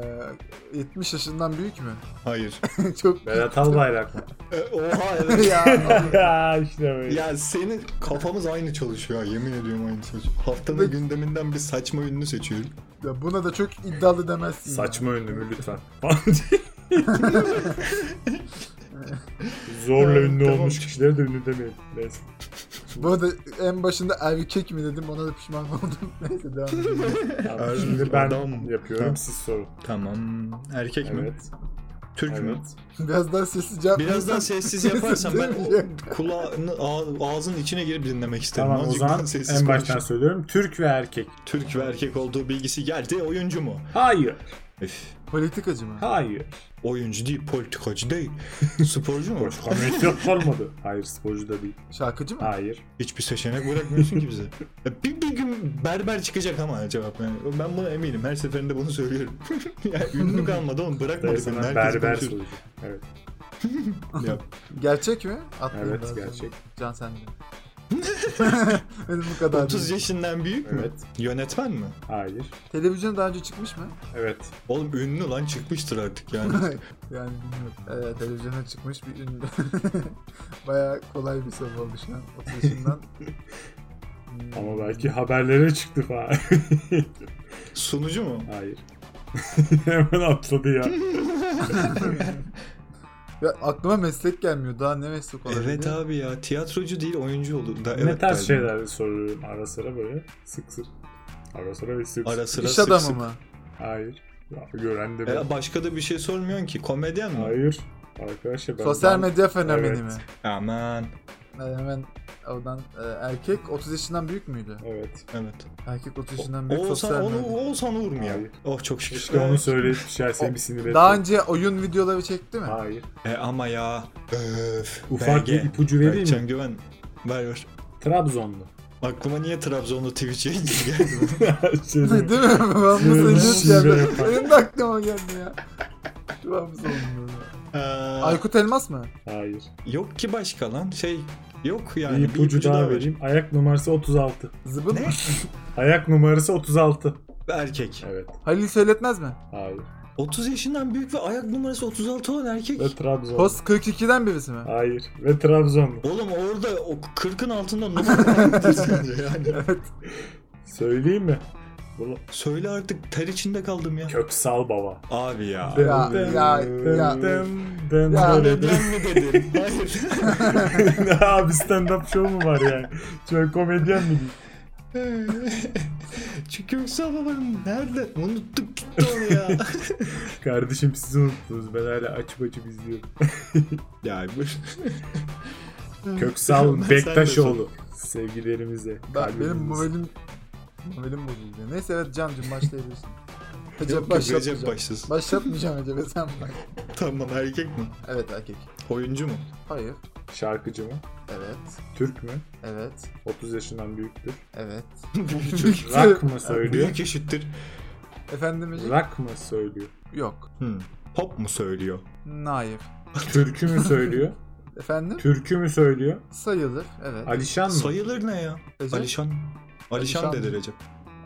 Speaker 3: 70 yaşından büyük mü?
Speaker 2: Hayır.
Speaker 3: Çok
Speaker 4: Berat Albayrak mı?
Speaker 2: E, Oha evet.
Speaker 3: ya.
Speaker 4: ya işte böyle.
Speaker 2: Ya senin kafamız aynı çalışıyor ya, yemin ediyorum aynı çalışıyor. Haftanın
Speaker 3: Evet.
Speaker 2: gündeminden bir saçma ünlü seçiyorum.
Speaker 3: ya buna da çok iddialı demezsin. ya.
Speaker 4: Saçma ünlü mü lütfen? Zorla
Speaker 2: Evet,
Speaker 4: ünlü
Speaker 2: tamam.
Speaker 4: olmuş kişilere de ünlü demeyelim. Neyse.
Speaker 3: Bu arada en başında erkek mi dedim ona da pişman oldum. Neyse devam edelim.
Speaker 4: Tamam,
Speaker 2: Er-
Speaker 4: şimdi ben
Speaker 2: adam.
Speaker 4: yapıyorum
Speaker 2: Tamam.
Speaker 4: siz sorun.
Speaker 2: Tamam. Erkek mi?
Speaker 4: Evet.
Speaker 2: Türk mü?
Speaker 4: evet.
Speaker 3: Biraz daha sessiz cevap
Speaker 2: Biraz daha
Speaker 3: verirsen-
Speaker 2: sessiz yaparsan ben
Speaker 3: Değil
Speaker 2: o kulağını ağ- ağzının içine girip dinlemek isterim.
Speaker 4: Tamam o
Speaker 2: Azıcık
Speaker 4: zaman
Speaker 2: daha sessiz
Speaker 4: en
Speaker 2: konuş.
Speaker 4: baştan söylüyorum. Türk ve erkek.
Speaker 2: Türk ve erkek olduğu bilgisi geldi. Oyuncu mu?
Speaker 4: Hayır.
Speaker 2: Üf.
Speaker 3: Politikacı mı?
Speaker 4: Hayır.
Speaker 2: Oyuncu değil, politikacı değil. Sporcu mu?
Speaker 4: Boş komedyen olmadı. Hayır sporcu da değil.
Speaker 3: Şarkıcı mı?
Speaker 4: Hayır.
Speaker 2: Hiçbir seçenek bırakmıyorsun ki bize. Ya Bir, bir gün berber çıkacak ama cevap yani. Ben buna eminim. Her seferinde bunu söylüyorum. ya ünlü kalmadı oğlum
Speaker 4: Dayı
Speaker 2: bırakmadı beni.
Speaker 4: sana
Speaker 2: Herkes
Speaker 4: berber
Speaker 2: konuşuyor.
Speaker 4: soruyor. Evet.
Speaker 2: Ya,
Speaker 3: Gerçek mi? Atlayın
Speaker 4: Evet,
Speaker 3: biraz sonra.
Speaker 4: gerçek.
Speaker 3: Can sen de. Benim bu kadar.
Speaker 2: 30 yaşından büyük mü?
Speaker 4: Evet.
Speaker 2: Yönetmen mi?
Speaker 4: Hayır.
Speaker 3: Televizyon daha önce çıkmış mı?
Speaker 4: Evet.
Speaker 2: Oğlum ünlü lan çıkmıştır artık yani.
Speaker 3: yani bilmiyorum. Ee, televizyona çıkmış bir ünlü. Baya kolay bir soru oldu şu an. 30 yaşından. Hmm,
Speaker 4: Ama belki haberlere çıktı falan.
Speaker 2: Sunucu mu?
Speaker 4: Hayır. Hemen atladı ya.
Speaker 3: Ya aklıma meslek gelmiyor. Daha ne meslek olabilir?
Speaker 2: Evet abi ya tiyatrocu değil oyuncu oldu. Da,
Speaker 4: ne
Speaker 2: evet
Speaker 4: tarz
Speaker 2: galiba.
Speaker 4: şeyler soruyorum ara sıra böyle sık sık. Ara sıra ve sık
Speaker 2: Ara
Speaker 4: sık.
Speaker 2: sıra
Speaker 3: İş
Speaker 2: sık
Speaker 3: adamı
Speaker 2: sık.
Speaker 3: mı?
Speaker 4: Hayır. Ya, gören de ben.
Speaker 2: E, başka da bir şey sormuyorsun ki. Komedyen mi?
Speaker 4: Hayır. Arkadaşlar ben...
Speaker 3: Sosyal
Speaker 4: ben-
Speaker 3: medya fenomeni
Speaker 4: Evet.
Speaker 3: mi?
Speaker 2: Aman.
Speaker 3: Ee, hemen oradan e, erkek 30 yaşından büyük müydü?
Speaker 4: Evet.
Speaker 2: Evet.
Speaker 3: Erkek 30 yaşından büyük sosyal
Speaker 2: Oğuzhan, onu,
Speaker 3: medya.
Speaker 2: Oğuzhan Uğur mu ya?
Speaker 4: Hayır.
Speaker 2: Oh çok şükür.
Speaker 4: İşte onu söyleyip bir şey seni bir sinir etti.
Speaker 3: Daha önce oyun videoları çekti mi?
Speaker 4: Hayır.
Speaker 2: E ama ya. Öf.
Speaker 4: Ufak
Speaker 2: BG.
Speaker 4: bir ipucu vereyim mi?
Speaker 2: Berkcan Güven. Ver ver.
Speaker 4: Trabzonlu.
Speaker 2: Aklıma niye Trabzonlu Twitch yayıncısı geldi?
Speaker 4: Şey
Speaker 3: Değil mi?
Speaker 4: diyeyim.
Speaker 3: Ben
Speaker 4: Şive
Speaker 3: bu sözü
Speaker 4: yapar.
Speaker 3: Benim de aklıma geldi ya. Şu an bu sorun böyle.
Speaker 2: Ee,
Speaker 3: Aykut Elmas mı?
Speaker 4: Hayır.
Speaker 2: yok ki başka lan. Şey yok yani.
Speaker 4: bir ipucu, daha, vereyim. Ayak numarası 36.
Speaker 3: Zıbın
Speaker 2: Ne?
Speaker 3: mı?
Speaker 4: Ayak numarası 36.
Speaker 2: Erkek.
Speaker 4: Evet.
Speaker 3: Halil Söyletmez mi?
Speaker 4: Hayır.
Speaker 2: 30 yaşından büyük ve ayak numarası 36 olan erkek.
Speaker 4: Ve Trabzonlu.
Speaker 3: Post 42'den birisi mi?
Speaker 4: Hayır. Ve Trabzonlu.
Speaker 2: Oğlum orada o 40'ın altında numara vardır sence yani.
Speaker 3: evet.
Speaker 4: Söyleyeyim mi? Bu
Speaker 2: Söyle artık ter içinde kaldım ya.
Speaker 4: Köksal Baba.
Speaker 2: Abi ya.
Speaker 3: Be- Ya, ya,
Speaker 4: dem,
Speaker 3: ya. Ya.
Speaker 4: böyle dem.
Speaker 2: Komedyen mi dedim? Hayır.
Speaker 4: Abi stand up show mu var yani? Şöyle komedyen mi değil?
Speaker 2: Çünkü Köksal babanın nerede? Unuttuk gitti onu ya.
Speaker 4: Kardeşim siz unuttunuz. Ben hala açıp açıp izliyorum.
Speaker 2: ya
Speaker 4: Köksal
Speaker 2: Ben
Speaker 4: Bektaşoğlu. Sevgilerimize.
Speaker 3: Ben, benim
Speaker 4: kalbimize.
Speaker 3: moralim moralim bozuldu. Neyse evet Can'cım başlayabilirsin. Recep
Speaker 2: Yok, yok, Recep
Speaker 3: başlatmayacağım.
Speaker 2: başlasın.
Speaker 3: Başlatmayacağım Recep'e sen bak.
Speaker 2: Tamam erkek mi?
Speaker 3: Evet erkek.
Speaker 2: Oyuncu mu?
Speaker 3: Hayır.
Speaker 4: Şarkıcı mı?
Speaker 3: Evet.
Speaker 4: Türk mü?
Speaker 3: Evet.
Speaker 4: 30 yaşından büyüktür.
Speaker 3: Evet.
Speaker 2: Büyük
Speaker 4: Rock mı söylüyor?
Speaker 2: Büyük eşittir.
Speaker 3: Efendim Recep?
Speaker 4: Rock mı söylüyor?
Speaker 3: Yok.
Speaker 2: Hmm. Pop mu söylüyor?
Speaker 3: Hayır.
Speaker 4: Türkü mü söylüyor?
Speaker 3: Efendim?
Speaker 4: Türkü mü söylüyor?
Speaker 3: Sayılır. Evet.
Speaker 4: Alişan mı?
Speaker 2: Sayılır ne ya?
Speaker 3: Recep?
Speaker 2: Alişan. Alişan
Speaker 3: Alişan.
Speaker 2: dedi Recep.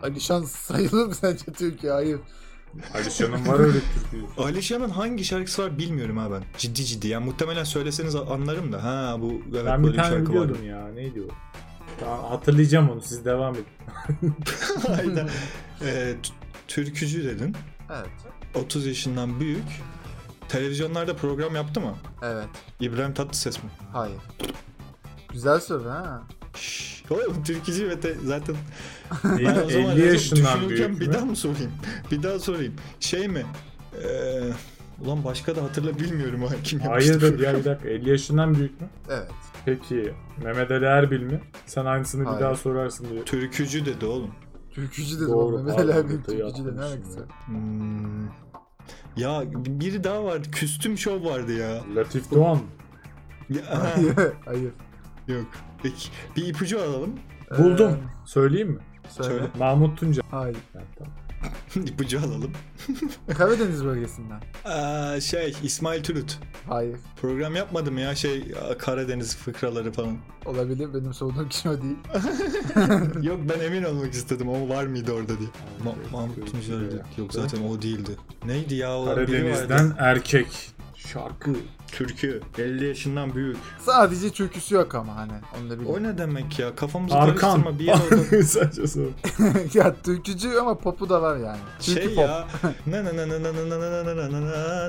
Speaker 3: Alişan sayılır mı sence Türkiye? Hayır.
Speaker 4: Alişan'ın var öyle türkü.
Speaker 2: Alişan'ın hangi şarkısı var bilmiyorum ha ben. Ciddi ciddi. Yani muhtemelen söyleseniz anlarım da. Ha bu evet
Speaker 4: ben
Speaker 2: böyle
Speaker 4: bir
Speaker 2: bir
Speaker 4: tane
Speaker 2: şarkı
Speaker 4: biliyordum ya. Neydi o? Tamam hatırlayacağım onu. Siz devam edin.
Speaker 2: var. Aynen. Ee, t- türkücü dedin.
Speaker 3: Evet.
Speaker 2: 30 yaşından büyük. Televizyonlarda program yaptı mı?
Speaker 3: Evet.
Speaker 2: İbrahim Tatlıses mi?
Speaker 3: Hayır. Güzel soru ha.
Speaker 2: Şşş. Oğlum türkücü ve te- zaten Ben o zaman
Speaker 4: 50
Speaker 2: Recep
Speaker 4: yaşından büyük
Speaker 2: düşünürken
Speaker 4: mü?
Speaker 2: bir daha mı sorayım? Bir daha sorayım. Şey mi? Ee, ulan başka da hatırla bilmiyorum ha kim
Speaker 4: Hayır
Speaker 2: yapmıştı.
Speaker 4: da ya bir dakika 50 yaşından büyük mü?
Speaker 3: Evet.
Speaker 4: Peki Mehmet Ali Erbil mi? Sen aynısını
Speaker 3: Hayır.
Speaker 4: bir daha sorarsın diye.
Speaker 2: Türkücü dedi oğlum.
Speaker 3: Türkücü dedim.
Speaker 4: Doğru,
Speaker 3: Doğru. Mehmet Ali
Speaker 4: pardon,
Speaker 3: abi
Speaker 4: detayı
Speaker 3: türkücü de ne
Speaker 4: atlamışım
Speaker 3: alakası
Speaker 4: ya.
Speaker 3: var?
Speaker 2: Hmm. Ya biri daha vardı. Küstüm şov vardı ya.
Speaker 4: Latif Doğan.
Speaker 2: ya ha,
Speaker 3: Hayır. Hayır.
Speaker 2: yok. Peki, bir ipucu alalım.
Speaker 4: Buldum. Söyleyeyim mi?
Speaker 3: Ee, söyle.
Speaker 2: Söyle.
Speaker 4: Mahmut Tunca.
Speaker 3: Hayır.
Speaker 4: Ha, tamam.
Speaker 2: ipucu alalım.
Speaker 3: Karadeniz bölgesinden.
Speaker 2: Aa, şey İsmail Türüt.
Speaker 3: Hayır.
Speaker 2: Program yapmadım ya şey Karadeniz fıkraları falan.
Speaker 3: Olabilir. Benim sorduğum kişi o değil.
Speaker 2: Yok ben emin olmak istedim o var mıydı orada diye. Ma
Speaker 4: Evet,
Speaker 2: Mahmut
Speaker 4: Tunca
Speaker 2: Tuncer
Speaker 4: ya.
Speaker 2: Yok zaten o değildi. Neydi ya o? biri vardı.
Speaker 4: Karadeniz'den erkek. Şarkı.
Speaker 2: Türkü. 50 yaşından büyük.
Speaker 3: Sadece türküsü yok ama hani. Onu da
Speaker 2: O
Speaker 3: bilin.
Speaker 2: ne demek ya? Kafamızı karıştırma
Speaker 4: Arkan.
Speaker 2: bir yere otur.
Speaker 4: Saçma sapan.
Speaker 3: ya türkücü ama popu da var yani. Türkü
Speaker 2: Şey
Speaker 3: pop.
Speaker 2: ya. Na na na na na na na na na na na na na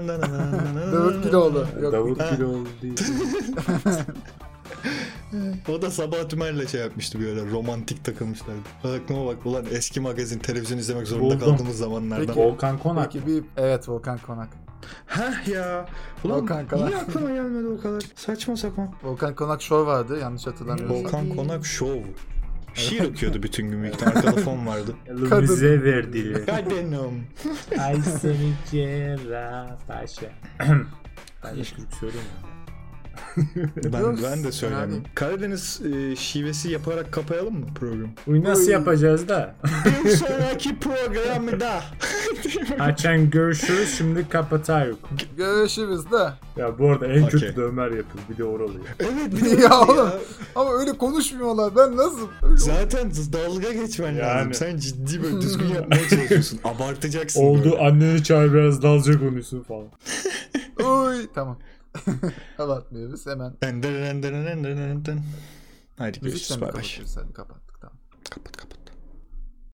Speaker 2: na na na na
Speaker 3: Davut Kiloğlu. Yok.
Speaker 4: Davut
Speaker 2: Ha.
Speaker 4: Güloğlu değil.
Speaker 2: O da Sabah Tümer'le şey yapmıştı böyle romantik takılmışlardı. Aklıma bak ulan eski magazin televizyon izlemek zorunda
Speaker 4: Buldum.
Speaker 2: kaldığımız zamanlardan.
Speaker 3: Peki.
Speaker 4: Volkan Konak.
Speaker 3: Peki bir... Evet Volkan Konak.
Speaker 2: Heh ya. Ulan
Speaker 3: Volkan Konak.
Speaker 2: niye aklıma gelmedi o kadar? Saçma sapan. Şey-
Speaker 3: Volkan Konak show vardı. Yanlış hatırlamıyorum.
Speaker 2: Volkan Konak şov. Şiir okuyordu bütün gün büyük ihtimalle. Arkada fon vardı.
Speaker 4: Elimize verdiler.
Speaker 2: Kadenim.
Speaker 4: Ay seni cerrah paşa. ben de şey Türk söylemiyorum.
Speaker 2: Ben,
Speaker 3: Biliyoruz.
Speaker 2: ben de söylemeyeyim.
Speaker 3: Yani.
Speaker 2: Karadeniz e, şivesi yaparak kapayalım mı programı?
Speaker 4: Bunu nasıl
Speaker 3: Oy.
Speaker 4: yapacağız da?
Speaker 2: Bir sonraki programda.
Speaker 4: Açan görüşürüz şimdi kapatıyoruz.
Speaker 3: Görüşürüz de.
Speaker 4: Ya bu arada en
Speaker 2: Okey.
Speaker 4: kötü de Ömer yapın. Bir de oralı.
Speaker 2: evet bir de
Speaker 3: Ya
Speaker 2: öyle ya.
Speaker 3: oğlum. Ama öyle konuşmuyorlar. Ben nasıl? Öyle
Speaker 2: Zaten dalga geçmen lazım.
Speaker 4: Yani.
Speaker 2: Sen ciddi böyle düzgün yapmaya çalışıyorsun. Abartacaksın
Speaker 4: Oldu
Speaker 2: böyle.
Speaker 4: anneni çağır biraz dalca konuşsun falan.
Speaker 3: Oy tamam. Kapatmıyoruz hemen.
Speaker 2: Dın dın dın dın dın dın dın. Haydi görüşürüz.
Speaker 3: Müzikle mi
Speaker 2: Bay bay.
Speaker 3: kapatıyoruz? Hadi kapattık tamam.
Speaker 2: Kapat kapat.